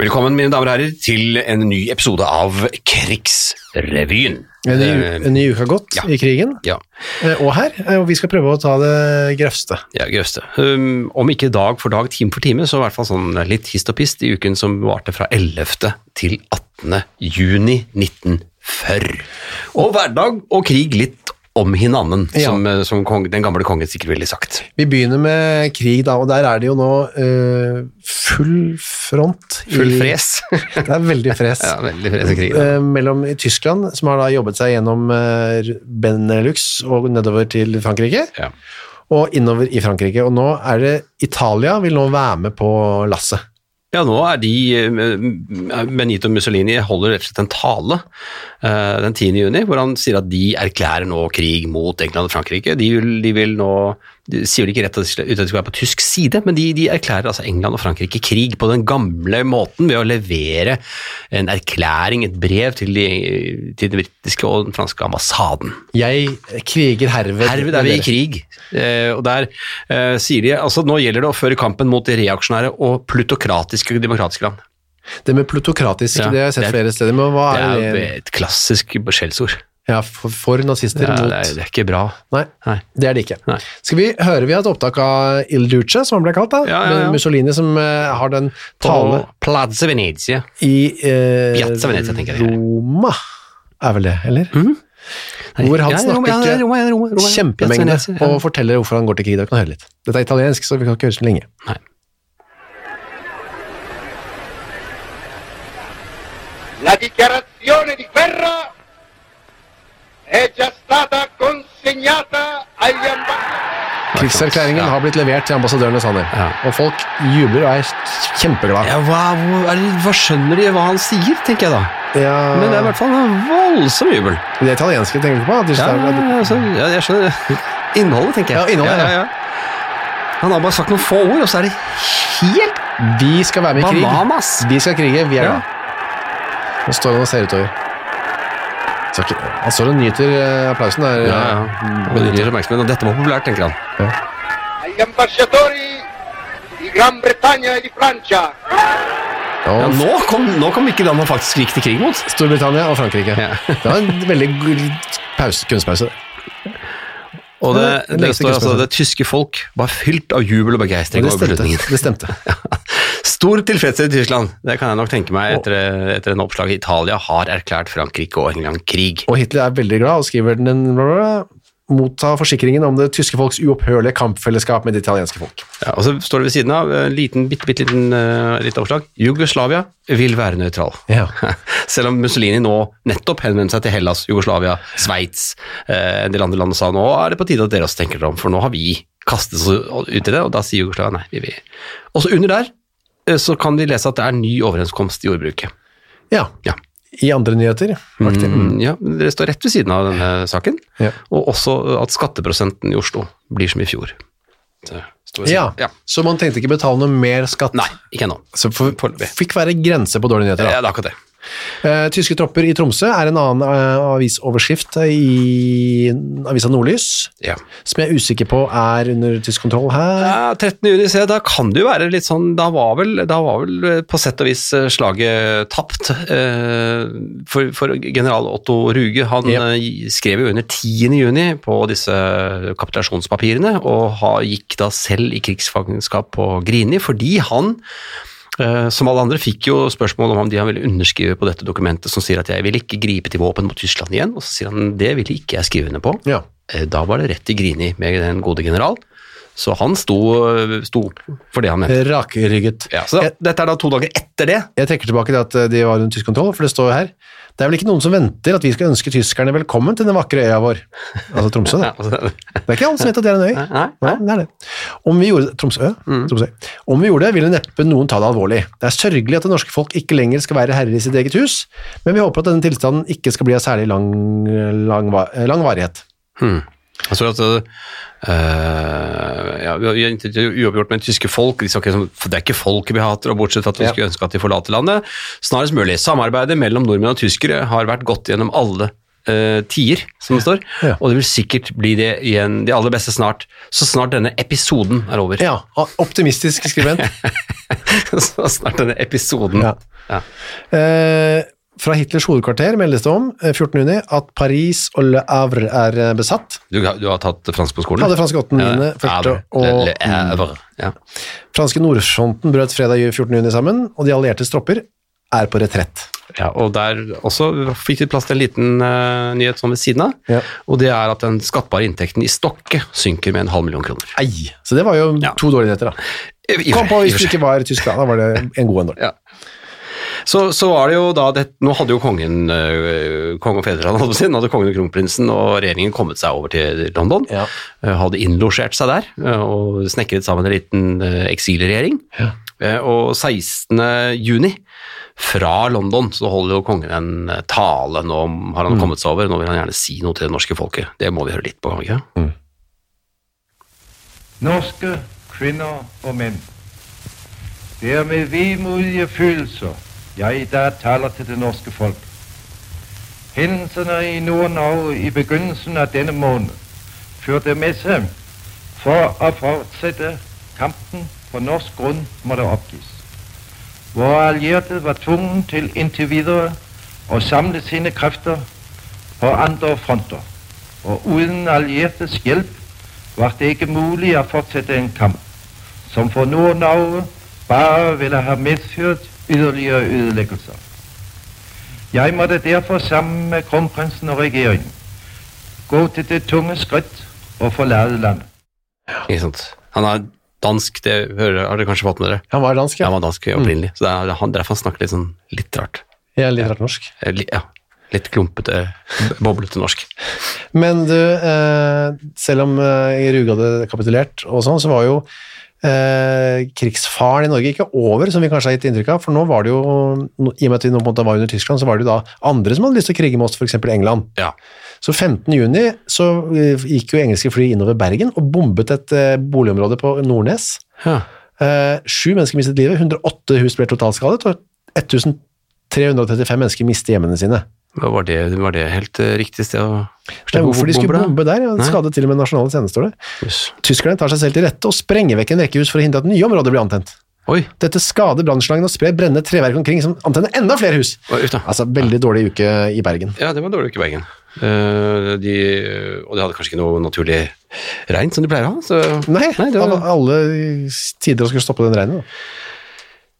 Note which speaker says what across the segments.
Speaker 1: Velkommen, mine damer og herrer, til en ny episode av Krigsrevyen.
Speaker 2: En ny,
Speaker 1: Eh,
Speaker 2: en ny uke har gått
Speaker 1: ja.
Speaker 2: i krigen,
Speaker 1: Ja,
Speaker 2: eh, og her, eh, og vi skal prøve å ta det grøvste.
Speaker 1: ja Grøvste. Um, om ikke dag for dag, time for time, så i hvert fall sånn litt hist og pist i uken som varte fra 11. til 18. juni 1940. Og hverdag og krig litt om hinanden,
Speaker 2: Ja.
Speaker 1: som, eh, som kong, den gamle kongen sikkert ville sagt.
Speaker 2: Vi begynner med krig, da, og der er det jo nå eh, full front. i-
Speaker 1: Full fres.
Speaker 2: Det er veldig fres.
Speaker 1: ja, veldig fres i krigen.
Speaker 2: Eh, mellom i Tyskland, som har da jobbet seg gjennom eh, Benelux og nedover til Frankrike,
Speaker 1: Ja.
Speaker 2: og innover i Frankrike. Og nå er det Italia vil nå være med på lasset.
Speaker 1: Ja, nå er de eh, Benito Mussolini holder rett og slett en tale eh, den 10. juni, hvor han sier at de erklærer nå krig mot England og Frankrike. De vil, de vil nå de sier vel ikke rett og slett ut at de skal være på tysk side, men de, de erklærer altså England og Frankrike krig på den gamle måten ved å levere en erklæring, et brev, til, de, til den britiske og den franske ambassaden.
Speaker 2: Jeg kriger herved.
Speaker 1: Herved er vi i
Speaker 2: med dere.
Speaker 1: krig. Eh, og der eh, sier de altså nå gjelder det å føre kampen mot de reaksjonære og plutokratiske demokratiske land.
Speaker 2: Det med plutokratisk,
Speaker 1: Ja,
Speaker 2: det har jeg sett
Speaker 1: det er-
Speaker 2: flere steder, men hva
Speaker 1: Det
Speaker 2: er
Speaker 1: er
Speaker 2: det?
Speaker 1: jo et klassisk skjellsord.
Speaker 2: Ja, for, for nazister
Speaker 1: Det, er-
Speaker 2: mot
Speaker 1: det er- det er ikke bra.
Speaker 2: Nei,
Speaker 1: Nei.
Speaker 2: det er det ikke.
Speaker 1: Nei.
Speaker 2: Skal vi høre vi har et opptak av Il Duce, som han ble kalt da,
Speaker 1: Ja, ja, ja.
Speaker 2: med Mussolini som eh, har den tale
Speaker 1: På Plaza Venezia.
Speaker 2: i eh,
Speaker 1: Piazza Venezia, tenker jeg det er.
Speaker 2: Roma, er vel det, eller?
Speaker 1: Nei,
Speaker 2: Hvor han
Speaker 1: ja, Roma,
Speaker 2: snakker
Speaker 1: ja,
Speaker 2: ikke
Speaker 1: Roma, ja, Roma, Roma, ja. Piazza
Speaker 2: kjempemengde
Speaker 1: Venezia, ja.
Speaker 2: og forteller hvorfor han går til krig. Dere kan høre litt. Dette er italiensk, så vi kan ikke høre så lenge.
Speaker 1: Nei.
Speaker 3: La dichiarazione di guerra è già stata consegnata agli ambasciatori.
Speaker 2: Krigserklæringen
Speaker 1: Ja.
Speaker 2: har blitt levert til ambassadørene, sa han.
Speaker 1: Ja.
Speaker 2: Og folk jubler og er kjempeglade.
Speaker 1: Ja, hva, hvor- er det- hva skjønner de hva han sier, tenker jeg da.
Speaker 2: Ja,
Speaker 1: Men det er i hvert fall en voldsom jubel.
Speaker 2: det italienske tenker du ikke på? at de-
Speaker 1: Ja, ja, altså, ja, jeg skjønner innholdet, tenker jeg.
Speaker 2: Ja, innholdet, ja.
Speaker 1: Han har bare sagt noen få ord, og så er det helt
Speaker 2: Vi skal være med i krig.
Speaker 1: Bananas!
Speaker 2: Vi skal krige, vi er
Speaker 1: Ja.
Speaker 2: glad. Nå står han og ser utover. Så ikke- Han står og nyter eh, applausen der.
Speaker 1: ja, ja. Og det gir oppmerksomhet, og Dette var populært, tenker han.
Speaker 3: Agli ambasciatori di Gran Bretagna e di Francia.
Speaker 1: Ja,
Speaker 2: Og
Speaker 1: nå, kom, nå kom ikke den han faktisk gikk til krig mot.
Speaker 2: Storbritannia og Frankrike.
Speaker 1: Ja.
Speaker 2: Det var en veldig god pause, kunstpause.
Speaker 1: Og det,
Speaker 2: Ja, det
Speaker 1: det,
Speaker 2: legges til
Speaker 1: står altså
Speaker 2: kunstpausen.
Speaker 1: det tyske folk var fylt av jubel og begeistring
Speaker 2: Det
Speaker 1: over
Speaker 2: stemte.
Speaker 1: beslutningen.
Speaker 2: Det stemte.
Speaker 1: Stor tilfredshet i Tyskland, det kan jeg nok tenke meg etter, etter en oppslag. Italia har erklært Frankrike og England krig.
Speaker 2: Og Hitler er veldig glad og skriver den en bla, bla, bla. Motta forsikringen om det tyske folks uopphørlige kampfellesskap med det italienske folk.
Speaker 1: Ja, og så står det ved siden av en liten, bitte, bitte liten eh, litt oppslag. Jugoslavia vil være nøytral.
Speaker 2: Ja.
Speaker 1: Selv om Mussolini nå nettopp henvendte seg til Hellas, Jugoslavia, Sveits, eh, en del andre land og sa nå er det på tide at dere også tenker dere om, for nå har vi kastet oss ut i det, og da sier Jugoslavia nei, vi vil. Og så under der eh, så kan de lese at det er ny overenskomst i jordbruket.
Speaker 2: Ja.
Speaker 1: Ja.
Speaker 2: I andre nyheter. faktisk.
Speaker 1: Mm, ja, dere står rett ved siden av denne saken,
Speaker 2: Ja.
Speaker 1: og også at skatteprosenten i Oslo blir som i fjor. Så, står det-
Speaker 2: Ja.
Speaker 1: ja.
Speaker 2: Så man tenkte ikke betale noe mer skatt.
Speaker 1: Nei, ikke ennå.
Speaker 2: Så for,
Speaker 1: Foreløpig.
Speaker 2: fikk være grense på dårlige nyheter. da.
Speaker 1: Ja, det er akkurat det.
Speaker 2: Eh, Tyske tropper i Tromsø er en annen eh, avisoverskrift eh, i avisa Nordlys,
Speaker 1: Ja.
Speaker 2: som jeg er usikker på er under tysk kontroll her.
Speaker 1: Ja, 13. juni, se, da kan det jo være litt sånn Da var vel, da var vel eh, på sett og vis eh, slaget tapt. eh, For, for general Otto Ruge, han
Speaker 2: Ja.
Speaker 1: eh, gi- skrev jo under 10. juni på disse kapitulasjonspapirene, og har, gikk da selv i krigsfangenskap på Grini, fordi han eh, som alle andre fikk jo spørsmål om han de han ville underskrive på dette dokumentet, som sier at jeg vil ikke gripe til våpen mot Tyskland igjen. Og så sier han det ville ikke jeg skrive under på.
Speaker 2: Ja.
Speaker 1: Eh, Da var det rett i Grini med den gode general, Så han sto, eh, sto opp for det han mente.
Speaker 2: Rakrygget.
Speaker 1: Ja, så
Speaker 2: Jeg-
Speaker 1: Eh, dette er da to dager etter det.
Speaker 2: Jeg trekker tilbake det at eh, de var under tysk kontroll, for det står jo her. Det er vel ikke noen som venter at vi skal ønske tyskerne velkommen til den vakre øya vår. Altså Tromsø,
Speaker 1: Ja,
Speaker 2: det.
Speaker 1: altså,
Speaker 2: Det er ikke alle som vet at det er en øy.
Speaker 1: nei,
Speaker 2: Nei, det er det. Om vi gjorde Tromsø, Tromsø. Om vi gjorde det, ville neppe noen ta det alvorlig. Det er sørgelig at det norske folk ikke lenger skal være herrer i sitt eget hus, men vi håper at denne tilstanden ikke skal bli av særlig lang, lang, va- eh, lang varighet.
Speaker 1: Hmm. Altså at øh, ja, vi har intervjuet uoppgjort med tyske folk. De sa ikke som, det er ikke folket vi hater, og bortsett fra at vi
Speaker 2: Ja.
Speaker 1: skulle ønske at de forlater landet. Snarest mulig. Samarbeidet mellom nordmenn og tyskere har vært gått gjennom alle øh, tider, som det står.
Speaker 2: Ja.
Speaker 1: Og det vil sikkert bli det igjen, de aller beste snart. Så snart denne episoden er over.
Speaker 2: Ja, optimistisk skribent.
Speaker 1: så snart denne episoden.
Speaker 2: Ja.
Speaker 1: Ja.
Speaker 2: Eh, fra Hitlers hovedkvarter meldes det om eh, 14. juni at Paris og Le Havre er eh, besatt.
Speaker 1: Du, har- du har tatt fransk på skolen?
Speaker 2: Hadde franske 8. juni, første og mm,
Speaker 1: Eller æver. eh, Ja.
Speaker 2: franske Nordfronten brøt fredag 14. juni sammen, og de alliertes tropper er på retrett.
Speaker 1: Ja, og der også fikk vi plass til en liten eh, nyhet sånn ved siden av.
Speaker 2: Ja.
Speaker 1: Og det er at den skattbare inntekten i Stokke synker med en halv million kroner.
Speaker 2: Ei, så det var jo
Speaker 1: Ja.
Speaker 2: to dårlige nyheter, da.
Speaker 1: I- i-
Speaker 2: Kom på
Speaker 1: i-
Speaker 2: hvis du ikke var i Tyskland, da var det en god en dårlig.
Speaker 1: Ja. Så, så var det jo da det, Nå hadde jo kongen, eh, kongen og fedrelandet, holdt jeg på å si, nå hadde kongen og kronprinsen og regjeringen kommet seg over til London.
Speaker 2: Ja.
Speaker 1: Eh, Hadde innlosjert seg der eh, og snekret sammen en liten eh, eksilregjering. Eh, Og 16. juni fra London så holder jo kongen en eh, tale. Nå har
Speaker 2: Mm.
Speaker 1: han kommet seg over, nå vil han gjerne si noe til det norske folket. Det må vi høre litt på. ikke?
Speaker 4: Norske kvinner og menn. Det er med vemodige følelser jeg i dag taler til det norske folk. Hendelsene i Nord-Norge i begynnelsen av denne måned førte med seg for å fortsette kampen på norsk grunn måtte oppgis. Våre allierte var tvungen til inntil videre å samle sine krefter på andre fronter, og uten alliertes hjelp var det ikke mulig å fortsette en kamp som for Nord-Norge bare ville ha medført ytterligere ødeleggelser. Jeg måtte derfor sammen med kronprinsen og regjeringen gå til det tunge skritt og forlate landet.
Speaker 1: ikke sant? Han er dansk, det hører, har dere kanskje fått med dere?
Speaker 2: Han var dansk,
Speaker 1: Han
Speaker 2: ja. Mm.
Speaker 1: var dansk opprinnelig, så det er han, derfor han snakker litt, sånn, litt rart.
Speaker 2: Jeg er litt rart norsk.
Speaker 1: Eh, li- Ja, litt klumpete, boblete norsk.
Speaker 2: Men du, eh, selv om eh, Ruge hadde kapitulert og sånn, så var jo eh, krigsfaren i Norge ikke over, som vi kanskje har gitt inntrykk av, for nå var det jo, no- i og med at vi nå på en måte var under Tyskland, så var det jo da andre som hadde lyst til å krige med oss, for eksempel England.
Speaker 1: Ja.
Speaker 2: Så 15. juni så eh, gikk jo engelske fly innover Bergen og bombet et eh, boligområde på Nordnes.
Speaker 1: Ja.
Speaker 2: Eh, Sju mennesker mistet livet, 108 hus ble totalskadet, og 1335 mennesker mistet hjemmene sine.
Speaker 1: Var, det, var det helt eh, riktig sted å
Speaker 2: Men hvorfor de skulle
Speaker 1: da?
Speaker 2: bombe der? Ja, det
Speaker 1: Nei.
Speaker 2: skadet til og med nasjonale tjenester, står det.
Speaker 1: Jøss.
Speaker 2: Tyskerne tar seg selv til rette og sprenger vekk en rekke hus for å hindre at nye områder blir antent.
Speaker 1: Oi,
Speaker 2: Dette skader brannslangen og sprer brennende treverk omkring som antenner enda flere hus.
Speaker 1: oi, uff da.
Speaker 2: Altså, veldig dårlig uke i Bergen.
Speaker 1: Ja, det var dårlig uke i Bergen. Eh, de, og de hadde kanskje ikke noe naturlig regn som de pleier å ha. Så,
Speaker 2: Nei,
Speaker 1: det
Speaker 2: av
Speaker 1: var,
Speaker 2: alle tider å skulle stoppe den regnen. da.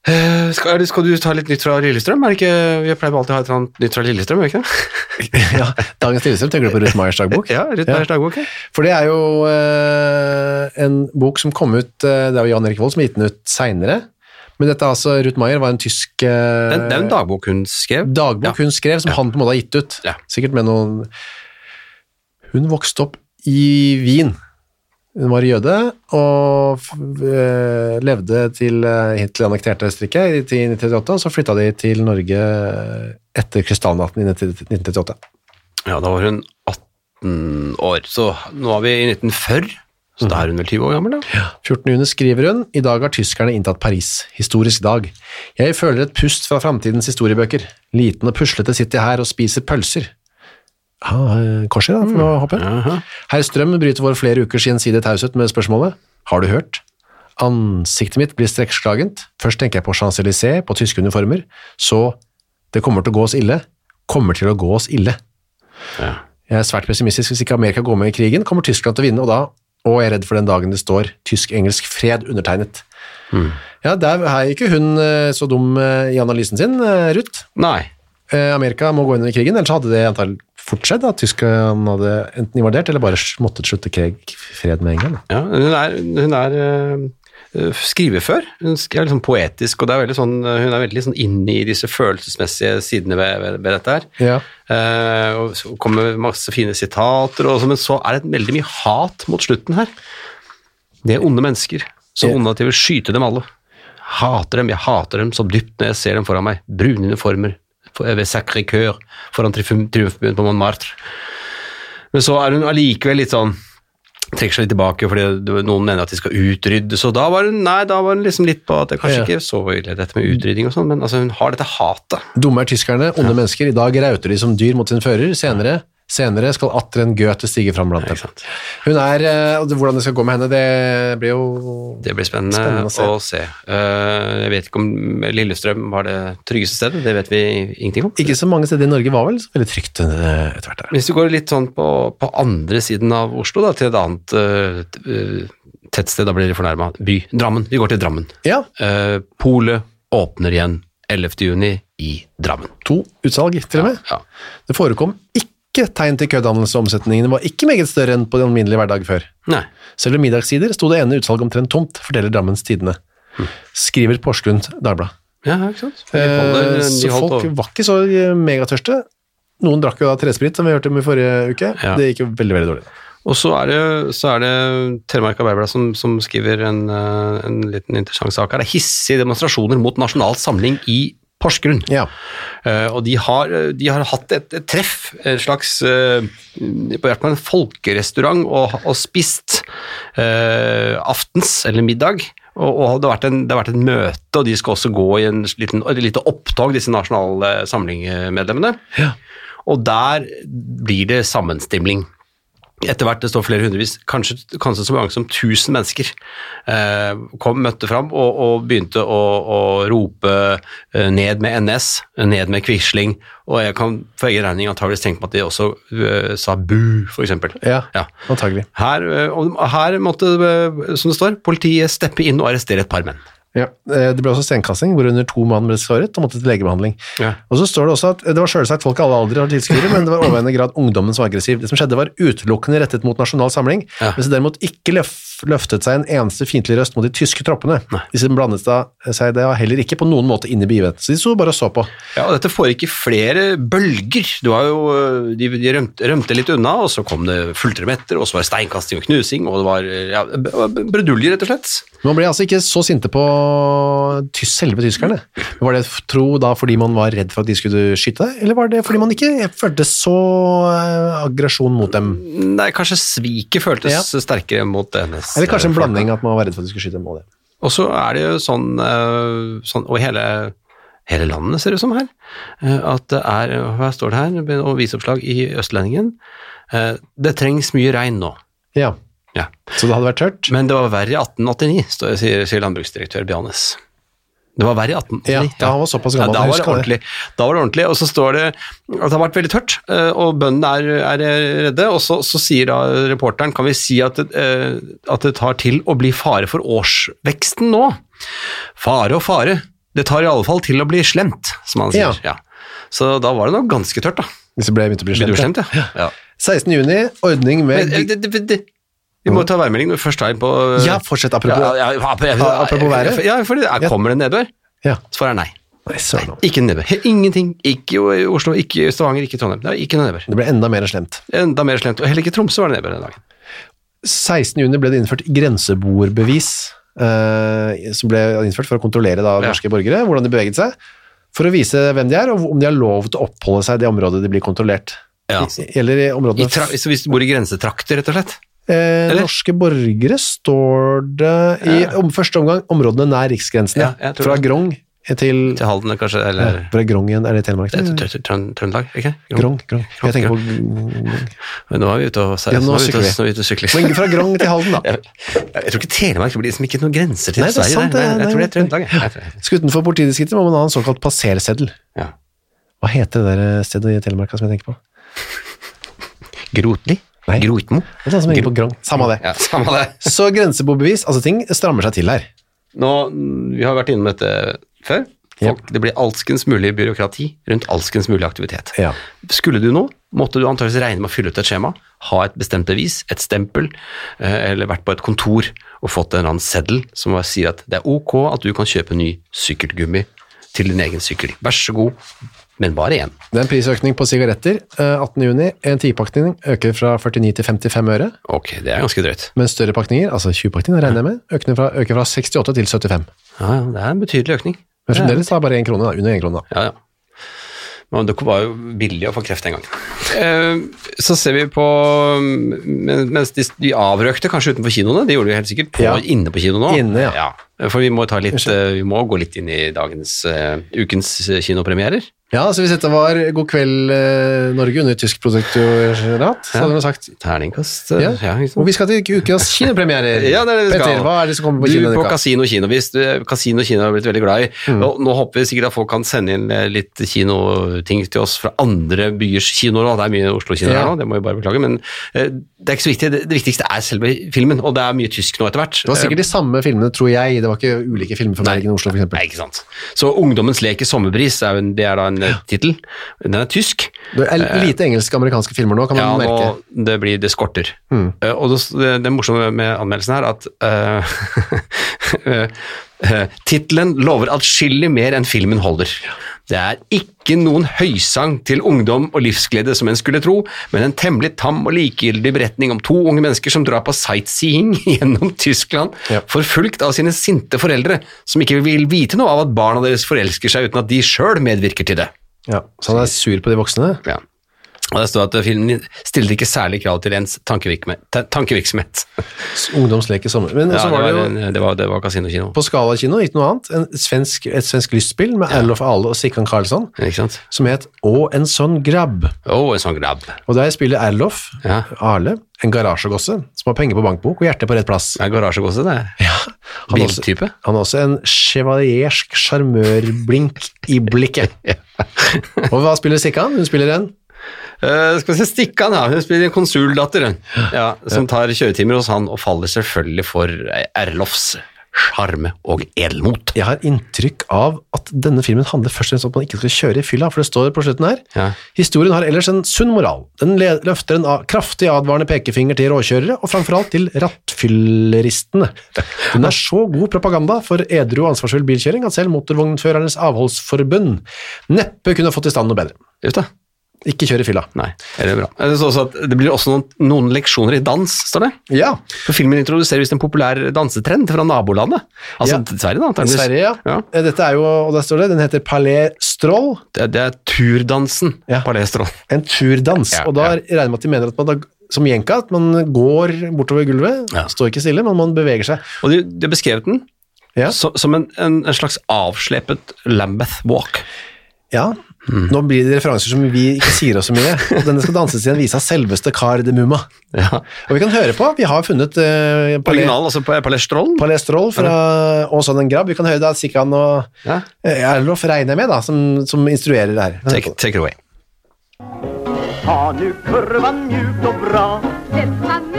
Speaker 1: Eh, skal, skal du ta litt nytt fra Lillestrøm? Er det ikke, jeg pleier alltid å ha et eller annet nytt fra Lillestrøm, gjør jeg ikke det?
Speaker 2: ja, dagens Lillestrøm tenker du på Ruth Meyers dagbok?
Speaker 1: ja, Ruth Meyers dagbok. ja.
Speaker 2: For det er jo eh, en bok som kom ut, eh, det er jo Jan Erik Vold som har gitt den ut seinere. Men dette er altså, Ruth Meyer var en tysk eh,
Speaker 1: Den- Det er jo en dagbok hun skrev.
Speaker 2: dagbok hun skrev, som han på en måte har gitt ut.
Speaker 1: Ja.
Speaker 2: Sikkert med noen Hun vokste opp i Wien. Hun var jøde og f- eh, levde til eh, Hitler annekterte Østerrike i 1938, og så flytta de til Norge eh, etter krystallnatten i 1938.
Speaker 1: Ja, da var hun 18 år. Så nå er vi i 1940, så da er hun vel 20 år gammel, da?
Speaker 2: 14. juni skriver hun I dag har tyskerne inntatt Paris. Historisk dag. Jeg føler et pust fra framtidens historiebøker. Liten og puslete sitter jeg her og spiser pølser. Ah, eh, Korser, da, for å hoppe.
Speaker 1: Jaha.
Speaker 2: Herr Strøm bryter vår flere ukers gjensidige taushet med spørsmålet Har du hørt? Ansiktet mitt blir strekslagent. Først tenker jeg på Champs-Élysées, på tyske uniformer. Så Det kommer til å gå oss ille. Kommer til å gå oss ille.
Speaker 1: Ja.
Speaker 2: Jeg er svært pessimistisk. Hvis ikke Amerika går med i krigen, kommer Tyskland til å vinne, og da og jeg er redd for den dagen det står tysk-engelsk fred undertegnet.
Speaker 1: Mm.
Speaker 2: Ja, der er ikke hun eh, så dum eh, i analysen sin, eh, Ruth.
Speaker 1: Nei.
Speaker 2: Eh, Amerika må gå inn i krigen, ellers hadde det antall fort skjedd at Tyskland hadde enten invadert eller bare måttet slutte krig fred med England. da.
Speaker 1: Ja, hun er, hun er eh, eh, skrivefør. Hun sk- er liksom poetisk, og det er veldig sånn, eh, hun er veldig sånn inne i disse følelsesmessige sidene ved, ved, ved dette her.
Speaker 2: Ja.
Speaker 1: Eh, og så kommer det masse fine sitater, og, så- men så er det veldig mye hat mot slutten her. Det er onde mennesker. Så onde at jeg vil skyte dem alle. Hater dem, jeg hater dem så dypt når jeg ser dem foran meg. Brune uniformer for- ved Sacré-Cœur foran triumf- triumfbuen på Montmartre. Men så er hun allikevel litt sånn trekker seg litt tilbake fordi det- noen mener at de skal utrydde, så da var hun nei, da var hun liksom litt på at det kanskje
Speaker 2: Ja.
Speaker 1: ikke så ille dette med utrydding og sånn, men altså hun har dette hatet.
Speaker 2: Dumme er tyskerne, onde mennesker. I dag rauter de som dyr mot sin fører. Senere, senere skal atter en Goethe stige fram blant dem.
Speaker 1: Ikke sant?
Speaker 2: Hun er, eh, og det- Hvordan det skal gå med henne, det blir jo
Speaker 1: Det blir spennende,
Speaker 2: Spennende å
Speaker 1: å
Speaker 2: se.
Speaker 1: se. Eh, jeg vet ikke om Lillestrøm var det tryggeste stedet, det vet vi ingenting om.
Speaker 2: Ikke så mange steder i Norge var vel så veldig trygt eh, etter hvert. der.
Speaker 1: Hvis du går litt sånn på, på andre siden av Oslo, da, til et annet eh, t- eh, tettsted, da blir det fornærma, by. Drammen. Vi går til Drammen.
Speaker 2: Ja,
Speaker 1: Uh, Polet åpner igjen 11. juni i Drammen.
Speaker 2: to utsalg til og med.
Speaker 1: Ja.
Speaker 2: Det forekom ikke tegn til kødannelse, og omsetningen var ikke meget større enn på den alminnelige hverdag før.
Speaker 1: Nei.
Speaker 2: Selv om middagssider sto det ene utsalget omtrent tomt, forteller Drammens Tidende. Skriver Porsgrunn Dagblad.
Speaker 1: Ja, ikke sant. Hm. De holder,
Speaker 2: Eh,
Speaker 1: de
Speaker 2: Så
Speaker 1: holdt
Speaker 2: folk
Speaker 1: over.
Speaker 2: var ikke så eh, megatørste. Noen drakk jo da tresprit, som vi hørte om i forrige uke.
Speaker 1: Ja.
Speaker 2: Det gikk jo veldig, veldig dårlig.
Speaker 1: Og så er det, så er det Telemark Arbeiderblad som, som skriver en, eh, en liten interessant sak her. Det er hissige demonstrasjoner mot nasjonal samling i Porsgrunn.
Speaker 2: Ja.
Speaker 1: Eh, og de har, de har hatt et, et treff, en slags eh, på hvert fall en folkerestaurant, og, og spist eh, aftens eller middag. Og, og det, har vært en, det har vært et møte, og de skal også gå i en liten, et lite opptog, disse nasjonale samlingmedlemmene. Og der blir det sammenstimling. Etter hvert det står flere hundrevis, kanskje, kanskje så mange som tusen mennesker, eh, kom, møtte fram og, og begynte å, å rope eh, ned med NS, ned med Quisling, og jeg kan for egen regning antageligvis tenke meg at de også eh, sa bu, for eksempel.
Speaker 2: Ja,
Speaker 1: Ja.
Speaker 2: antagelig.
Speaker 1: Her, eh, og her måtte, eh, som det står, politiet steppe inn og arrestere et par menn.
Speaker 2: Ja. Eh, Det ble også stenkasting, hvorunder to mann ble såret og måtte til legebehandling.
Speaker 1: Ja.
Speaker 2: Og så står Det også at eh, det var selvsagt folk i alle aldre og tidsskuere, men det var overveiende grad ungdommen som var aggressiv. Det som skjedde, var utelukkende rettet mot nasjonal samling,
Speaker 1: Ja.
Speaker 2: mens det derimot ikke løf løftet seg en eneste fiendtlig røst mot de tyske troppene. De som blandet da, seg da heller ikke på noen måte inn i begivenheten, så de sto bare og så på.
Speaker 1: Ja, og dette foregikk i flere bølger. Det var jo, øh, de de rømte, rømte litt unna, og så kom det fulltrøm etter, og så var det steinkasting og knusing, og det var øh, ja, b- b- brudulje, rett og slett.
Speaker 2: Man ble altså ikke så sinte på tys- selve tyskerne. Men Var det f- tro da fordi man var redd for at de skulle skyte deg, eller var det fordi man ikke følte så eh, aggresjon mot dem?
Speaker 1: Nei, kanskje sviket føltes
Speaker 2: Ja.
Speaker 1: sterkere mot NS.
Speaker 2: Eller kanskje en blanding at man var redd for at de skulle skyte dem og det.
Speaker 1: Og så er det jo sånn, øh, sånn og hele, hele landet ser det ut som her, øh, at det er, øh, her står det her, og viseoppslag i Østlendingen, øh, det trengs mye regn nå.
Speaker 2: Ja,
Speaker 1: Ja.
Speaker 2: så det hadde vært tørt.
Speaker 1: Men det var verre i 1889, står- sier, sier landbruksdirektør Bjarnes. Det var verre i 1889.
Speaker 2: Ja, da han var såpass gammel,
Speaker 1: da,
Speaker 2: jeg
Speaker 1: var det
Speaker 2: husker det.
Speaker 1: ordentlig. da var det ordentlig. Og så står det at det har vært veldig tørt, eh, og bøndene er, er redde. Og så, så sier da reporteren kan vi si at det, eh, at det tar til å bli fare for årsveksten nå. Fare og fare. Det tar i alle fall til å bli slemt, som han
Speaker 2: Ja.
Speaker 1: sier. Ja. Så da var det nok ganske tørt, da.
Speaker 2: Hvis det ble begynte å bli
Speaker 1: Blir du
Speaker 2: slemt.
Speaker 1: slemt, ja? ja.
Speaker 2: 16. juni, ordning med...
Speaker 1: Men, eh, det, det, det, vi må ta værmelding når vi først er inne på eh,
Speaker 2: Ja, fortsett apropos.
Speaker 1: ja, ja, ja, apropos-
Speaker 2: Ja, apropos været.
Speaker 1: Ja, for det,
Speaker 2: Ja.
Speaker 1: kommer det nedbør?
Speaker 2: Ja.
Speaker 1: Svaret er nei.
Speaker 2: Nei, søren om.
Speaker 1: Ikke nedbør. He- Ingenting. Ikke i Oslo, ikke i Stavanger, ikke i Trondheim. Det er ikke noe nedbør.
Speaker 2: Det ble enda mer slemt.
Speaker 1: Enda mer slemt. Og heller ikke i Tromsø var det nedbør den dagen.
Speaker 2: 16. juni ble det innført grenseboerbevis, eh, som ble innført for å kontrollere da,
Speaker 1: Ja.
Speaker 2: norske borgere, hvordan de beveget seg, for å vise hvem de er, og om de har lov til å oppholde seg i det området de blir kontrollert.
Speaker 1: Ja.
Speaker 2: I, eller i
Speaker 1: I
Speaker 2: områdene...
Speaker 1: tra så hvis du bor i grensetrakter, rett og slett.
Speaker 2: eh,
Speaker 1: eller?
Speaker 2: norske borgere står det i om, første omgang områdene nær riksgrensene,
Speaker 1: Ja, jeg tror
Speaker 2: fra
Speaker 1: det.
Speaker 2: Grong til...
Speaker 1: Til Halden kanskje, eller
Speaker 2: Fra Grong igjen, er det i Telemark?
Speaker 1: til- til- til Trøn- Trøndelag, ikke?
Speaker 2: Grong, Grong. Jeg tenker på...
Speaker 1: Men nå er vi ute og,
Speaker 2: Ja, nå
Speaker 1: nå er vi ute og, nå
Speaker 2: sykler vi.
Speaker 1: er vi ute og sykler.
Speaker 2: Men fra Grong til Halden da.
Speaker 1: jeg, jeg tror ikke Telemark det blir liksom ikke noen grenser til
Speaker 2: Nei, det er
Speaker 1: Sverige.
Speaker 2: sant,
Speaker 1: der.
Speaker 2: det-
Speaker 1: Nei, jeg tror det er
Speaker 2: det-
Speaker 1: Trøndelag. jeg. Jeg tror det.
Speaker 2: Skal utenfor politidistriktet må man ha en såkalt passerseddel.
Speaker 1: Ja.
Speaker 2: Hva heter det der stedet i Telemarka som jeg tenker på?
Speaker 1: Grotli?
Speaker 2: Nei.
Speaker 1: Grotmo?
Speaker 2: Det er sånn som henger på Grong. Samme det.
Speaker 1: Ja, samme det.
Speaker 2: Så grensebobevis, altså ting strammer seg til her.
Speaker 1: Nå, vi har vært innom dette før. Folk, Det blir alskens mulig byråkrati rundt alskens mulig aktivitet.
Speaker 2: Ja.
Speaker 1: Skulle du nå, måtte du antakeligvis regne med å fylle ut et skjema, ha et bestemt bevis, et stempel, eh, eller vært på et kontor og fått en eller annen seddel som bare sier at det er ok at du kan kjøpe ny sykkelgummi til din egen sykkel. Vær så god, men bare én.
Speaker 2: Det er en prisøkning på sigaretter. eh, 18. juni, en 10-pakning øker fra 49 til 55 øre,
Speaker 1: Ok, det er ganske drøyt.
Speaker 2: mens større pakninger, altså 20-pakningen regner jeg med, øker fra, øker fra 68 til 75.
Speaker 1: Ja, ja, det er en betydelig økning.
Speaker 2: Men fremdeles da bare en krone, da, under en krone. Da.
Speaker 1: Ja, ja. Men dere var jo billig å få kreft en gang. Eh, Så ser vi på mm, men- Mens de, de avrøkte kanskje utenfor kinoene, det gjorde de helt sikkert, på,
Speaker 2: Ja.
Speaker 1: inne på kino nå.
Speaker 2: Inne, ja.
Speaker 1: For vi må, ta litt, eh, vi må gå litt inn i dagens eh, ukens eh, kinopremierer.
Speaker 2: Ja, så hvis dette var God kveld eh, Norge under tysk produktorat, så hadde de sagt
Speaker 1: Terningkast eh,
Speaker 2: ja.
Speaker 1: ja, ikke sant?
Speaker 2: Og vi skal til ukas kinopremierer.
Speaker 1: Ja, det er det vi skal.
Speaker 2: Petter, hva er det som kommer på
Speaker 1: du,
Speaker 2: kino Mm. denne
Speaker 1: på
Speaker 2: uka?
Speaker 1: Casino Kino. Hvis du, Casino Kino har jeg blitt veldig glad i. Og nå håper vi sikkert at folk kan sende inn eh, litt kinoting til oss fra andre byers kinoer. også. Det er mye Oslo-kinoer
Speaker 2: Ja.
Speaker 1: her nå, det må vi bare beklage. Men eh, det er ikke så viktig. Det, det viktigste er selve filmen, og det er mye tysk nå etter hvert.
Speaker 2: Det var sikkert de samme filmene, tror jeg. Det var ikke ulike filmer fra Bergen og Oslo,
Speaker 1: Eh,
Speaker 2: for
Speaker 1: Nei,
Speaker 2: eksempel.
Speaker 1: ikke sant. Så 'Ungdommens lek i sommerbris' er, jo en, det er da en ja. tittel. Den er tysk.
Speaker 2: Det er lite engelske og amerikanske filmer nå, kan man
Speaker 1: Eh. Ja,
Speaker 2: merke. Mm.
Speaker 1: nå det blir det skorter. Eh, og det, det, det morsomme med anmeldelsen her, at uh, tittelen lover atskillig mer enn filmen holder. Det er ikke noen høysang til ungdom og livsglede som en skulle tro, men en temmelig tam og likegyldig beretning om to unge mennesker som drar på sightseeing gjennom Tyskland,
Speaker 2: Ja.
Speaker 1: forfulgt av sine sinte foreldre, som ikke vil vite noe av at barna deres forelsker seg uten at de sjøl medvirker til det.
Speaker 2: Ja, så han er sur på de voksne.
Speaker 1: Ja. Og der står at filmen stiller ikke særlig krav til ens tankevirkme- ta- tankevirksomhet.
Speaker 2: Ungdomslek i sommer. Men
Speaker 1: Ja,
Speaker 2: så
Speaker 1: det,
Speaker 2: var det
Speaker 1: var,
Speaker 2: jo
Speaker 1: en- det, var, det var Casino Kino.
Speaker 2: på Skala kino, ikke noe annet, en svensk, et svensk lystspill med Erlof Ale og Sikkan Karlsson,
Speaker 1: Ikke sant?
Speaker 2: som het Å, en sånn grabb.
Speaker 1: Å, en sånn grabb.
Speaker 2: Og der spiller Erlof
Speaker 1: Ja.
Speaker 2: Arle, en garasjegosse, som har penger på bankbok og hjertet på rett plass.
Speaker 1: Det er garasjegosse, det.
Speaker 2: Han er også-
Speaker 1: Biltype.
Speaker 2: Han har også en chevaliersk sjarmørblink i blikket. Og hva spiller Sikkan? Hun spiller en
Speaker 1: Eh, skal vi se, Stikkan, ja. Hun spiller en konsuldatter, hun. Ja, som tar kjøretimer hos han og faller selvfølgelig for eh, Erlofs sjarme og edelmot.
Speaker 2: Jeg har inntrykk av at denne filmen handler først og fremst om at man ikke skal kjøre i fylla, for det står på slutten her.
Speaker 1: Ja.
Speaker 2: Historien har ellers en sunn moral. Den le- løfter en a- kraftig advarende pekefinger til råkjørere, og framfor alt til rattfylleristene. Den er så god propaganda for edru og ansvarsfull bilkjøring at selv Motorvognførernes avholdsforbund neppe kunne fått i stand noe bedre.
Speaker 1: Just det.
Speaker 2: Ikke kjør i fylla.
Speaker 1: Nei, det er bra. Eh, Det, står også at det blir også noen, noen leksjoner i dans, står det.
Speaker 2: Ja,
Speaker 1: For filmen introduserer visst en populær dansetrend fra nabolandet. Altså
Speaker 2: Ja.
Speaker 1: Sverige, da. antageligvis.
Speaker 2: Sverige, ja.
Speaker 1: ja.
Speaker 2: Eh, Dette er jo, og der står det, den heter Palais Stroll,
Speaker 1: Det, det er turdansen
Speaker 2: Ja.
Speaker 1: på Lestron.
Speaker 2: en turdans.
Speaker 1: Ja,
Speaker 2: og da
Speaker 1: ja.
Speaker 2: regner jeg med at de mener at man da, som jenka, at man går bortover gulvet,
Speaker 1: Ja.
Speaker 2: står ikke stille, men man beveger seg.
Speaker 1: Og de, de beskrev den
Speaker 2: Ja.
Speaker 1: så, som en, en, en slags avslepet Lambeth Walk.
Speaker 2: Ja,
Speaker 1: Mm.
Speaker 2: nå blir det referanser som vi ikke sier oss så mye. Og denne skal danses i en vise av selveste Kar de Mumma.
Speaker 1: Ja.
Speaker 2: Og vi kan høre på, vi har funnet eh, Palais
Speaker 1: Originalen, altså på Palestron.
Speaker 2: Palais Stroll fra Og sånn en grabb. Vi kan høre da Sikkan og
Speaker 1: Ja.
Speaker 2: eh, Erlof regner jeg med, da, som, som instruerer det her.
Speaker 1: Take, take it away.
Speaker 5: Ta nu kurvan mjukt och bra
Speaker 6: Sett manøveren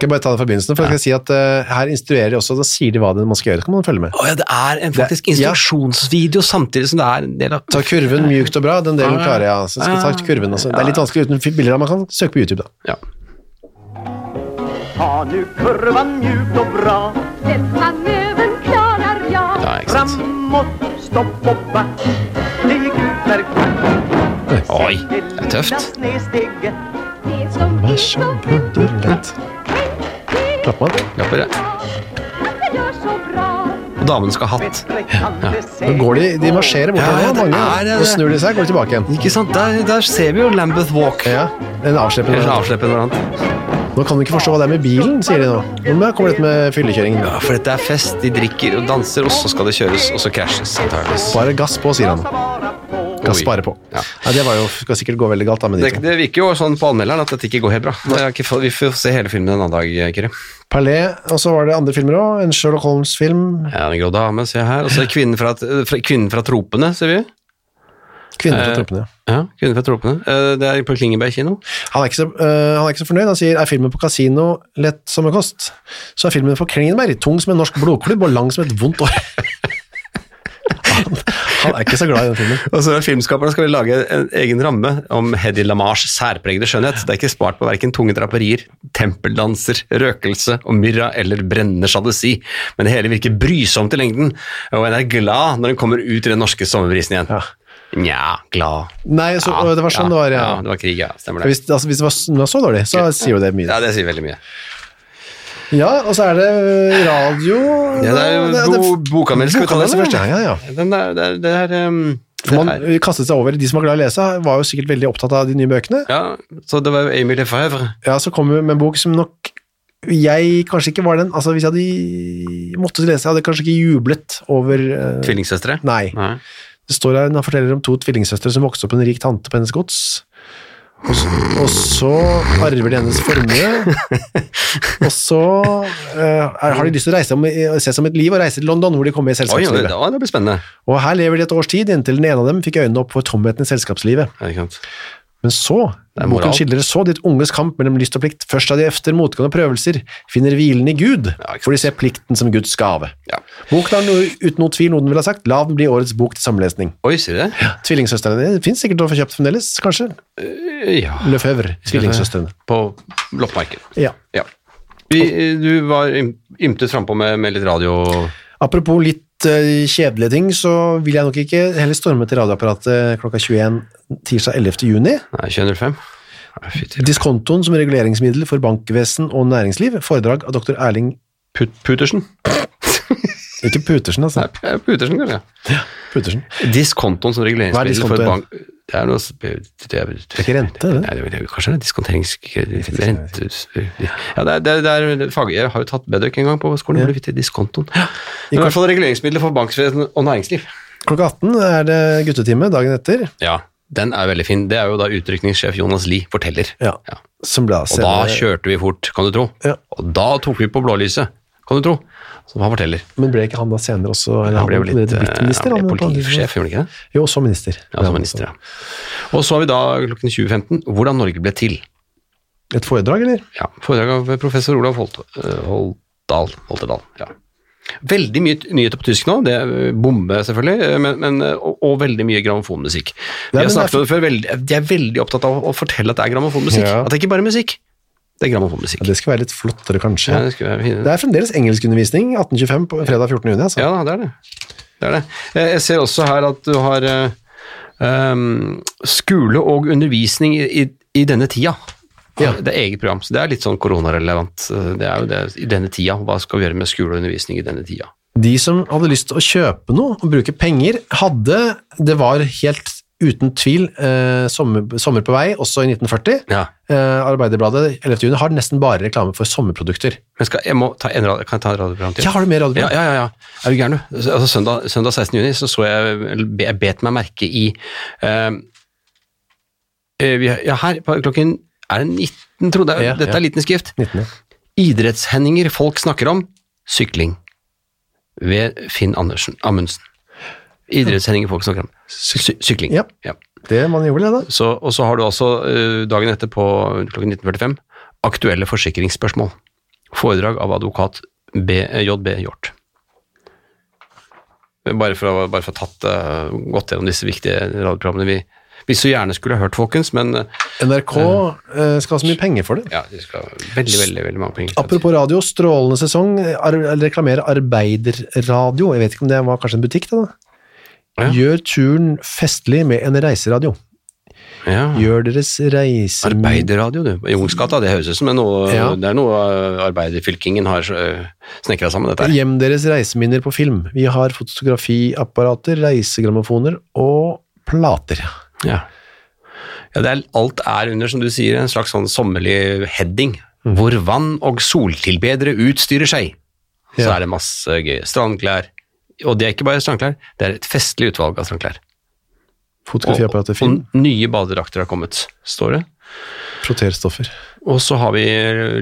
Speaker 2: Skal jeg bare ta det fra begynnelsen, for jeg skal si at eh, her instruerer de også, da sier de hva det man skal gjøre, så kan man følge med.
Speaker 1: Å ja, det er en faktisk
Speaker 2: Det- ja.
Speaker 1: instruksjonsvideo samtidig som det er en del av
Speaker 2: Ta kurven mjukt og bra, den
Speaker 1: Ja.
Speaker 2: delen
Speaker 1: Ah.
Speaker 2: klarer jeg. Så skal jeg ta kurven også. Det er litt vanskelig uten bilder, da. man kan søke på YouTube da.
Speaker 1: ja.
Speaker 5: Ta nu kurvan mjukt och bra
Speaker 6: Sett manøveren klarer jeg.
Speaker 1: ja, ikke sant.
Speaker 5: Framåt, stopp och back Stig ut där kvack
Speaker 1: Oi, det er tøft.
Speaker 5: Snedsteget
Speaker 6: Det som
Speaker 2: Vær
Speaker 6: er
Speaker 2: så
Speaker 6: så
Speaker 2: god, det er lett. Klapper man?
Speaker 1: Klapper, ja.
Speaker 6: At det gjør så bra.
Speaker 1: Og damen skal ha hatt.
Speaker 2: Da går de, de marsjerer bortover,
Speaker 1: Ja, det
Speaker 2: mange,
Speaker 1: er det.
Speaker 2: og snur de seg, går tilbake igjen.
Speaker 1: Ikke sant, der, der ser vi jo Lambeth Walk.
Speaker 2: Ja, en avslippende
Speaker 1: Eller
Speaker 2: variant.
Speaker 1: avsleppet eller annet.
Speaker 2: Nå kan du ikke forstå hva det er med bilen, sier de nå. Nå kommer dette med fyllekjøringen.
Speaker 1: Ja, for dette er fest, de drikker og danser, og så skal det kjøres, og så krasjes antageligvis.
Speaker 2: Bare gass på, sier han.
Speaker 1: Oi.
Speaker 2: Gass spare på.
Speaker 1: Ja.
Speaker 2: Ja, det var jo, skal sikkert gå veldig galt da med
Speaker 1: Det,
Speaker 2: de to.
Speaker 1: det virker jo sånn på anmelderen at dette ikke går helt bra. Det er ikke, vi får se hele filmen en annen dag, Kyrre.
Speaker 2: Perlet, og så var det andre filmer også, en Sherlock Holmes-film,
Speaker 1: Ja, den grå dame, ser jeg her. Og så er det kvinnen fra, fra, kvinnen fra tropene, ser vi.
Speaker 2: Kvinner fra
Speaker 1: Eh.
Speaker 2: troppene.
Speaker 1: Ja, kvinnen fra tropene. Eh, Det er på Klingeberg kino.
Speaker 2: Han er, ikke så, øh, han er ikke så fornøyd, han sier er filmen på kasino lett som en kost, så er filmen på Klingenberg tung som en norsk blodklubb og lang som et vondt år. Han, Han er ikke så glad i den filmen.
Speaker 1: Og så Filmskaperne skal vel lage en egen ramme om Hedy Lamars særpregede skjønnhet. Det er ikke spart på verken tunge draperier, tempeldanser, røkelse og myrra eller brennende sjalusi, men det hele virker brysomt i lengden, og en er glad når en kommer ut i den norske sommerbrisen igjen.
Speaker 2: Ja.
Speaker 1: Nja, glad
Speaker 2: Nei, så,
Speaker 1: Ja,
Speaker 2: det var
Speaker 1: ja,
Speaker 2: sånn det var, ja.
Speaker 1: det var krig, ja. Stemmer
Speaker 2: For
Speaker 1: det.
Speaker 2: Hvis, altså, hvis det var s- når det var så dårlig, så sier jo det mye.
Speaker 1: Ja, det sier veldig mye.
Speaker 2: Ja, og så er det ø, radio
Speaker 1: Ja, det er jo
Speaker 2: det- det-
Speaker 1: bo, bokanmeldelse. Skal vi ta det som
Speaker 2: bokanmeldelse,
Speaker 1: først?
Speaker 2: Ja, ja, ja.
Speaker 1: Den er, det er, det er, um,
Speaker 2: For
Speaker 1: det
Speaker 2: man
Speaker 1: er
Speaker 2: ø, kastet seg over. De som var glad i å lese, var jo sikkert veldig opptatt av de nye bøkene.
Speaker 1: Ja, så det var jo Emil Lefebvre.
Speaker 2: Ja, så kom vi med en bok som nok jeg kanskje ikke var den Altså, hvis jeg hadde måttet lese, hadde jeg kanskje ikke jublet over ø,
Speaker 1: Tvillingsøstre.
Speaker 2: Nei.
Speaker 1: Nei.
Speaker 2: Det står her, Hun forteller om to tvillingsøstre som vokste opp med en rik tante på hennes gods. Og så, og så arver de hennes formue. Og så eh, er, har de lyst til å reise om, i- se som et liv og reise til London, hvor de kommer i
Speaker 1: Oi, oi, det,
Speaker 2: selskapslivet.
Speaker 1: å, det blir spennende.
Speaker 2: Og her lever de et års tid, inntil den ene av dem fikk øynene opp for tomheten i selskapslivet.
Speaker 1: Ja, ikke sant.
Speaker 2: Men så,
Speaker 1: er moral.
Speaker 2: boken skildrer så ditt unges kamp mellom lyst og plikt. Først da de efter motgang og prøvelser finner hvilen i Gud,
Speaker 1: Ja, ikke
Speaker 2: for de ser plikten som Guds gave.
Speaker 1: Ja.
Speaker 2: Boken har noe, uten noe tvil noe den ville ha sagt. La den bli årets bok til sammenlesning.
Speaker 1: Oi, sier du det?
Speaker 2: Tvillingsøstrene dine det finnes sikkert å få kjøpt fremdeles, kanskje.
Speaker 1: Eh, Ja.
Speaker 2: Lefebvre, tvillingsøstrene.
Speaker 1: På loppemarkedet.
Speaker 2: Ja.
Speaker 1: Ja. Vi, du var ym- ymtet frampå med, med litt radio
Speaker 2: Apropos litt eh, kjedelige ting, så vil jeg nok ikke heller storme til radioapparatet klokka 21 tirsdag 11. juni.
Speaker 1: Nei, 2005. Nei, fy til-
Speaker 2: Diskontoen som reguleringsmiddel for bankvesen og næringsliv. Foredrag av dr. Erling
Speaker 1: Put, Putersen.
Speaker 2: Ikke Putersen, altså.
Speaker 1: Nei, P- Putersen, kanskje.
Speaker 2: Putersen.
Speaker 1: Diskontoen som
Speaker 2: Hva er
Speaker 1: reguleringsmiddel
Speaker 2: diskonto
Speaker 1: for et
Speaker 2: igjen?
Speaker 1: bank... Det er noe s- Det er, det
Speaker 2: ikke rente, det?
Speaker 1: Nei, det er, kanskje det er diskonterings... Rente... Ja, det er, det er, det er fag... Jeg har jo tatt bedøk en gang på skolen, burde vite diskontoen. Ja. Det er I hvert fall reguleringsmidler for bankvesen og næringsliv.
Speaker 2: Klokka 18 er det guttetime dagen etter,
Speaker 1: Ja, den er veldig fin. Det er jo da utrykningssjef Jonas Lie forteller.
Speaker 2: Ja.
Speaker 1: Ja.
Speaker 2: som ble
Speaker 1: Og da kjørte vi fort, kan du tro.
Speaker 2: Ja.
Speaker 1: Og da tok vi på blålyset, kan du tro. Som han forteller.
Speaker 2: Men ble ikke han da senere også eller
Speaker 1: Han ble jo
Speaker 2: han
Speaker 1: litt, eh,
Speaker 2: blitt minister?
Speaker 1: han
Speaker 2: han,
Speaker 1: ble
Speaker 2: på andre siden?
Speaker 1: politisjef, gjorde han ikke det?
Speaker 2: Jo, så minister.
Speaker 1: Ja, som minister, ja. Og så har vi da klokken 20.15 Hvordan Norge ble til.
Speaker 2: Et foredrag, eller?
Speaker 1: Ja, Foredrag av professor Olav Holt, eh, Holtdal. Holtedal, ja. Veldig mye t- nyheter på tysk nå, det er eh, bombe selvfølgelig, eh, men, men, eh, og, og veldig mye grammofonmusikk. Vi
Speaker 2: men
Speaker 1: har
Speaker 2: det er
Speaker 1: snakket
Speaker 2: for-
Speaker 1: om det før, veldig, de er veldig opptatt av å fortelle at det er grammofonmusikk.
Speaker 2: Ja.
Speaker 1: At det ikke bare er musikk, det er grammofonmusikk.
Speaker 2: Ja, det skal være litt flottere, kanskje.
Speaker 1: Ja, det skulle være fint.
Speaker 2: Det er fremdeles engelskundervisning 1825 på fredag 14. juni. Altså.
Speaker 1: Ja da, det er det. det er det. Eh, Jeg ser også her at du har eh, ehm, skole og undervisning i, i, i denne tida.
Speaker 2: Ja.
Speaker 1: Det er eget program, så det er litt sånn koronarelevant. Eh, Det er jo det i denne tida. Hva skal vi gjøre med skole og undervisning i denne tida?
Speaker 2: De som hadde lyst til å kjøpe noe og bruke penger, hadde Det var helt uten tvil eh, sommer, sommer på vei, også i 1940.
Speaker 1: Ja.
Speaker 2: Eh, Arbeiderbladet 11. juni har nesten bare reklame for sommerprodukter.
Speaker 1: Men skal, jeg må ta en, rad- kan jeg ta en radioprogram til?
Speaker 2: Ja, har du mer
Speaker 1: Ja,
Speaker 2: radioprogram?
Speaker 1: ja, ja, ja. Er du gæren, du? Altså, søndag, søndag 16. juni så, så jeg, eller be- jeg bet meg merke i eh, eh, vi- Ja, her på klokken Er det 19, trodde jeg?
Speaker 2: Ja,
Speaker 1: Dette
Speaker 2: ja.
Speaker 1: er liten skrift.
Speaker 2: 19.
Speaker 1: Idrettshendinger folk snakker om sykling ved Finn Andersen, Amundsen. Idrettshendinger folk snakker om Sy sykling.
Speaker 2: Ja.
Speaker 1: Ja.
Speaker 2: Det man gjorde, det, da.
Speaker 1: Så, og så har du også eh, dagen etter på klokken 1945 aktuelle forsikringsspørsmål. Foredrag av advokat B- eh, JB Hjort. Bare for å bare for å ha tatt eh, gått gjennom disse viktige radioprogrammene vi, vi så gjerne skulle ha hørt, folkens, men eh,
Speaker 2: NRK eh, skal ha så mye penger for det.
Speaker 1: ja, de skal ha veldig, veldig, veldig mange penger.
Speaker 2: Apropos radio, strålende sesong. Ar reklamerer Arbeiderradio. Jeg vet ikke om det var kanskje en butikk, det, da.
Speaker 1: Ja.
Speaker 2: Gjør turen festlig med en reiseradio.
Speaker 1: ja.
Speaker 2: Gjør deres reiser...
Speaker 1: Arbeiderradio, du. I Jungsgata, det høres ut som en noe,
Speaker 2: Ja.
Speaker 1: det er noe eh, arbeiderfylkingen har snekra sammen, dette her.
Speaker 2: Gjem deres reiseminner på film. Vi har fotografiapparater, reisegrammofoner og plater.
Speaker 1: Ja. ja det er, alt er under, som du sier, en slags sånn sommerlig heading, hvor vann og soltilbedere utstyrer seg. Så
Speaker 2: Ja.
Speaker 1: er det masse gøy. Strandklær. Og det er ikke bare strandklær, det er et festlig utvalg av strandklær. Og,
Speaker 2: Fotografiapparater,
Speaker 1: og
Speaker 2: film,
Speaker 1: nye badedrakter har kommet, står det.
Speaker 2: proterstoffer.
Speaker 1: Og så har vi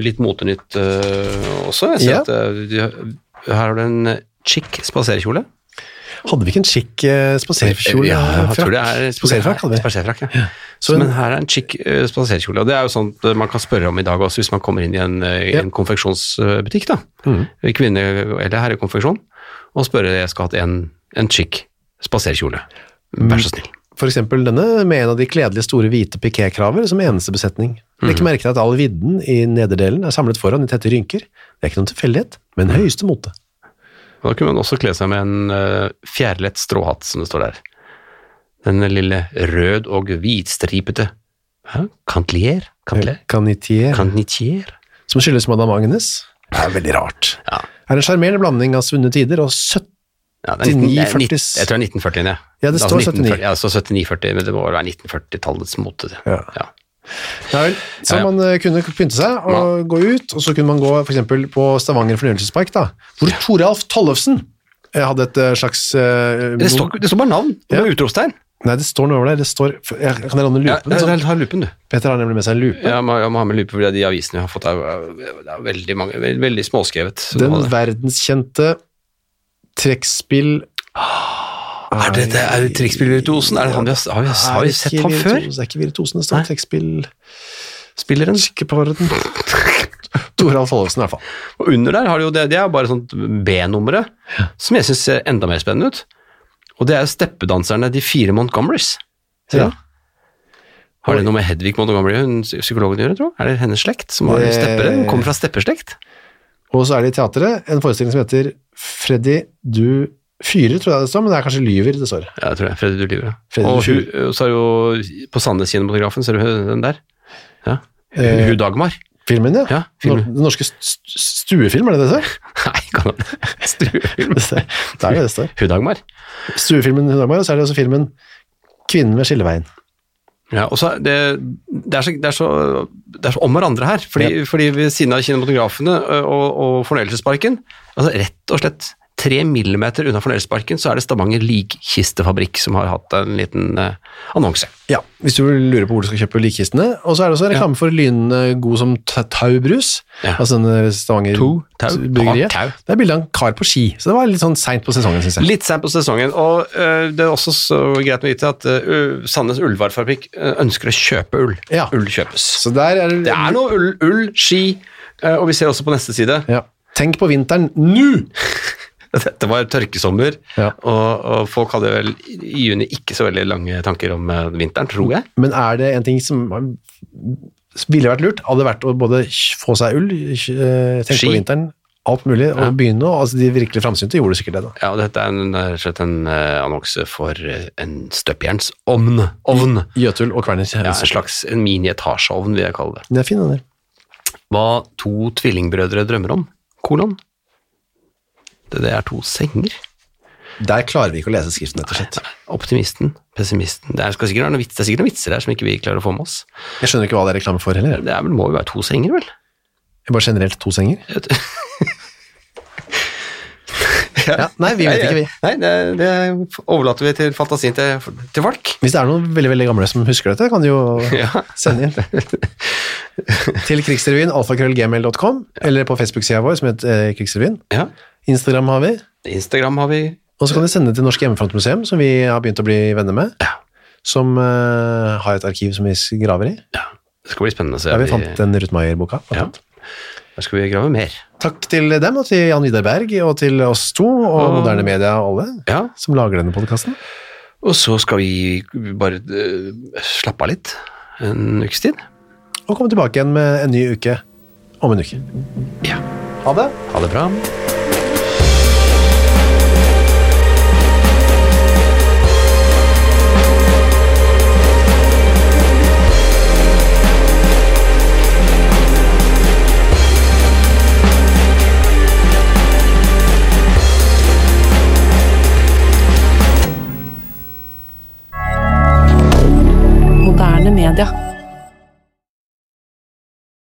Speaker 1: litt motenytt eh, også. Jeg ser
Speaker 2: Ja.
Speaker 1: at, eh, de- her har du en chic spaserkjole.
Speaker 2: Hadde vi ikke en chic eh, spaserkjole?
Speaker 1: Ja, jeg tror det er
Speaker 2: Spaserfrakk hadde vi.
Speaker 1: spaserfrakk, ja.
Speaker 2: Så en-
Speaker 1: Men her er en chic eh, spaserkjole, og det er jo sånt eh, man kan spørre om i dag også hvis man kommer inn i en, eh,
Speaker 2: Ja. Mm.
Speaker 1: en konfeksjonsbutikk, da. Kvinne- eller herrekonfeksjon, og spørre jeg skal ha hatt en, en chic spaserkjole.
Speaker 2: Mm.
Speaker 1: Vær så snill.
Speaker 2: For eksempel denne med en av de kledelige store hvite pikékraver som eneste besetning. Legg merke til at all vidden i nederdelen er samlet foran i tette rynker. Det er ikke noen tilfeldighet, men høyeste mote.
Speaker 1: Og da kunne man også kle seg med en eh, fjærlett stråhatt, som det står der. Den lille rød- og hvitstripete Hæ? Cantelier? Cantelier?
Speaker 2: Canitier,
Speaker 1: Cantelier?
Speaker 2: som skyldes Madame Agnes. Det er veldig rart.
Speaker 1: Ja.
Speaker 2: Er en sjarmerende blanding av svunne tider og 17
Speaker 1: Ja, det er 19, det er 19
Speaker 2: 49.
Speaker 1: jeg tror det er 1940, ja.
Speaker 2: Ja, det står
Speaker 1: 1940, ja, det står 7940, men det må vel være 1940-tallets mote. Det.
Speaker 2: Ja.
Speaker 1: Ja.
Speaker 2: Ja vel. Så
Speaker 1: Ja, ja.
Speaker 2: man eh, kunne pynte seg og gå ut, og så kunne man gå for eksempel på Stavanger fornøyelsespark, da, hvor Toralf Tollefsen eh, hadde et eh, slags eh,
Speaker 1: Det, står, det står bare navn, og
Speaker 2: Ja.
Speaker 1: med utropstegn.
Speaker 2: Nei, det står noe over der. Det står Jeg kan låne
Speaker 1: Ja,
Speaker 2: lupen.
Speaker 1: ja,
Speaker 2: sånn.
Speaker 1: ta lupen, du.
Speaker 2: Peter har nemlig med seg en lupe.
Speaker 1: Ja, jeg må, jeg må ha med lupe, fordi de avisene jeg har fått, er, er, er veldig, mange, veldig, veldig småskrevet. Så
Speaker 2: Den
Speaker 1: må det-
Speaker 2: verdenskjente trekkspill...
Speaker 1: er det, det er trekkspillervirtuosen? Er det han vi har, har, vi, har vi
Speaker 2: Er
Speaker 1: sett
Speaker 2: ikke
Speaker 1: ham før?
Speaker 2: virtuos- Det er ikke Virtuosen, det
Speaker 1: Nei.
Speaker 2: står trekkspill...
Speaker 1: Spilleren?
Speaker 2: Ikke på orden. Toralf Tollefsen, i hvert fall.
Speaker 1: Og under der har de jo det, det er bare sånt B-nummeret, som jeg syns ser enda mer spennende ut. Og det er steppedanserne, de fire Montgomerys. Ser du?
Speaker 2: Ja.
Speaker 1: Har det noe med Hedvig Montgomery, hun psykologen, å gjøre, tro? Er det hennes slekt som har
Speaker 2: Det-
Speaker 1: steppere? Hun kommer fra stepperslekt?
Speaker 2: Og så er det i teateret en forestilling som heter Freddy, du fyrer, tror jeg det står, men det er kanskje lyver det står.
Speaker 1: Ja, jeg tror det. Freddy Dulive.
Speaker 2: Freddy
Speaker 1: Og hun,
Speaker 2: Dulive.
Speaker 1: så er det jo på Sandnes Kinematografen, ser du den der? Ja.
Speaker 2: Eh.
Speaker 1: Hun Dagmar.
Speaker 2: Filmen, ja.
Speaker 1: Ja, filmen.
Speaker 2: Nor- Den norske st- st- stuefilm, er det det det står?
Speaker 1: Nei, kan han Struefilm.
Speaker 2: Det står- det er jo det det står.
Speaker 1: Hun Dagmar.
Speaker 2: Stuefilmen Hun Dagmar, og så er det også filmen Kvinnen ved skilleveien.
Speaker 1: Ja, og så er det, det, er så, det, er så, det er så om hverandre her, fordi, fordi ved siden av kinematografene ø, og, og fornøyelsesparken, altså rett og slett tre millimeter unna fornøyelsesparken, så er det Stavanger Ligkistefabrikk som har hatt en liten ø, annonse.
Speaker 2: Ja, hvis du lurer på hvor du skal kjøpe likkistene. Og så er det også en reklame for Lynen god som ta- Tau-brus.
Speaker 1: Ja.
Speaker 2: Altså denne Stavanger
Speaker 1: To, Tau,
Speaker 2: bryggeriet.
Speaker 1: Tau.
Speaker 2: Det er bilde av en kar på ski, så det var litt sånn seint på sesongen, syns jeg.
Speaker 1: Litt sent på sesongen, og ø, det er også så greit å vite at ø, Sandnes Ullvarefabrikk ø, ønsker å kjøpe ull.
Speaker 2: Ja.
Speaker 1: Ull kjøpes.
Speaker 2: Så der er det,
Speaker 1: Det er noe ull, ull ski, ø, og vi ser også på neste side
Speaker 2: Ja. Tenk på vinteren nå!
Speaker 1: Dette var tørkesommer,
Speaker 2: Ja.
Speaker 1: og, og folk hadde vel i juni ikke så veldig lange tanker om eh, vinteren, tror jeg.
Speaker 2: Men er det en ting som ville vært lurt, hadde vært å både kj- få seg ull, kj- eh, tenke
Speaker 1: Ski.
Speaker 2: på vinteren, alt mulig, og
Speaker 1: Ja.
Speaker 2: begynne å altså De virkelig framsynte gjorde sikkert det, da.
Speaker 1: Ja, og Dette er en- rett og slett en eh, annonse for eh, en støpejernsovn. Ovn.
Speaker 2: Jøtul og Kværner.
Speaker 1: Ja, en slags en mini-etasjeovn, vil jeg kalle det.
Speaker 2: Den er fin, den der.
Speaker 1: Hva to tvillingbrødre drømmer om, kolon. Det, det er to senger.
Speaker 2: Der klarer vi ikke å lese skriften, rett og slett.
Speaker 1: Optimisten, pessimisten. Det er, skal sikkert være noen vits, det er sikkert noen vitser der som ikke vi klarer å få med oss.
Speaker 2: Jeg skjønner ikke hva det er reklame for heller.
Speaker 1: Det er, vel- må jo være to senger, vel?
Speaker 2: Jeg bare generelt to senger. Ja, nei, vi vet ikke, vi.
Speaker 1: Nei, det, det overlater vi til fantasien til, til folk.
Speaker 2: Hvis det er noen veldig veldig gamle som husker dette, kan de jo
Speaker 1: Ja.
Speaker 2: sende inn. Til krigsrevyen, alfakrøllgmail.com, eller på Facebook-sida vår som heter eh, Krigsrevyen.
Speaker 1: Ja.
Speaker 2: Instagram har vi.
Speaker 1: Instagram har vi.
Speaker 2: Og så kan du sende det til Norsk Hjemmefrontmuseum, som vi har begynt å bli venner med. Som eh, har et arkiv som vi s- graver i.
Speaker 1: Det skal bli spennende å se.
Speaker 2: Der vi fant den Ruthmeier-boka. blant
Speaker 1: Ja.
Speaker 2: annet.
Speaker 1: Der skal vi grave mer.
Speaker 2: Takk til dem, og til Jan Vidar Berg, og til oss to, og
Speaker 1: Og-
Speaker 2: Moderne Media og alle
Speaker 1: Ja.
Speaker 2: som lager denne podkasten.
Speaker 1: Og så skal vi bare eh, slappe av litt en ukes tid.
Speaker 2: Og komme tilbake igjen med en ny uke om en uke.
Speaker 1: Ja.
Speaker 2: Ha det!
Speaker 1: Ha det bra.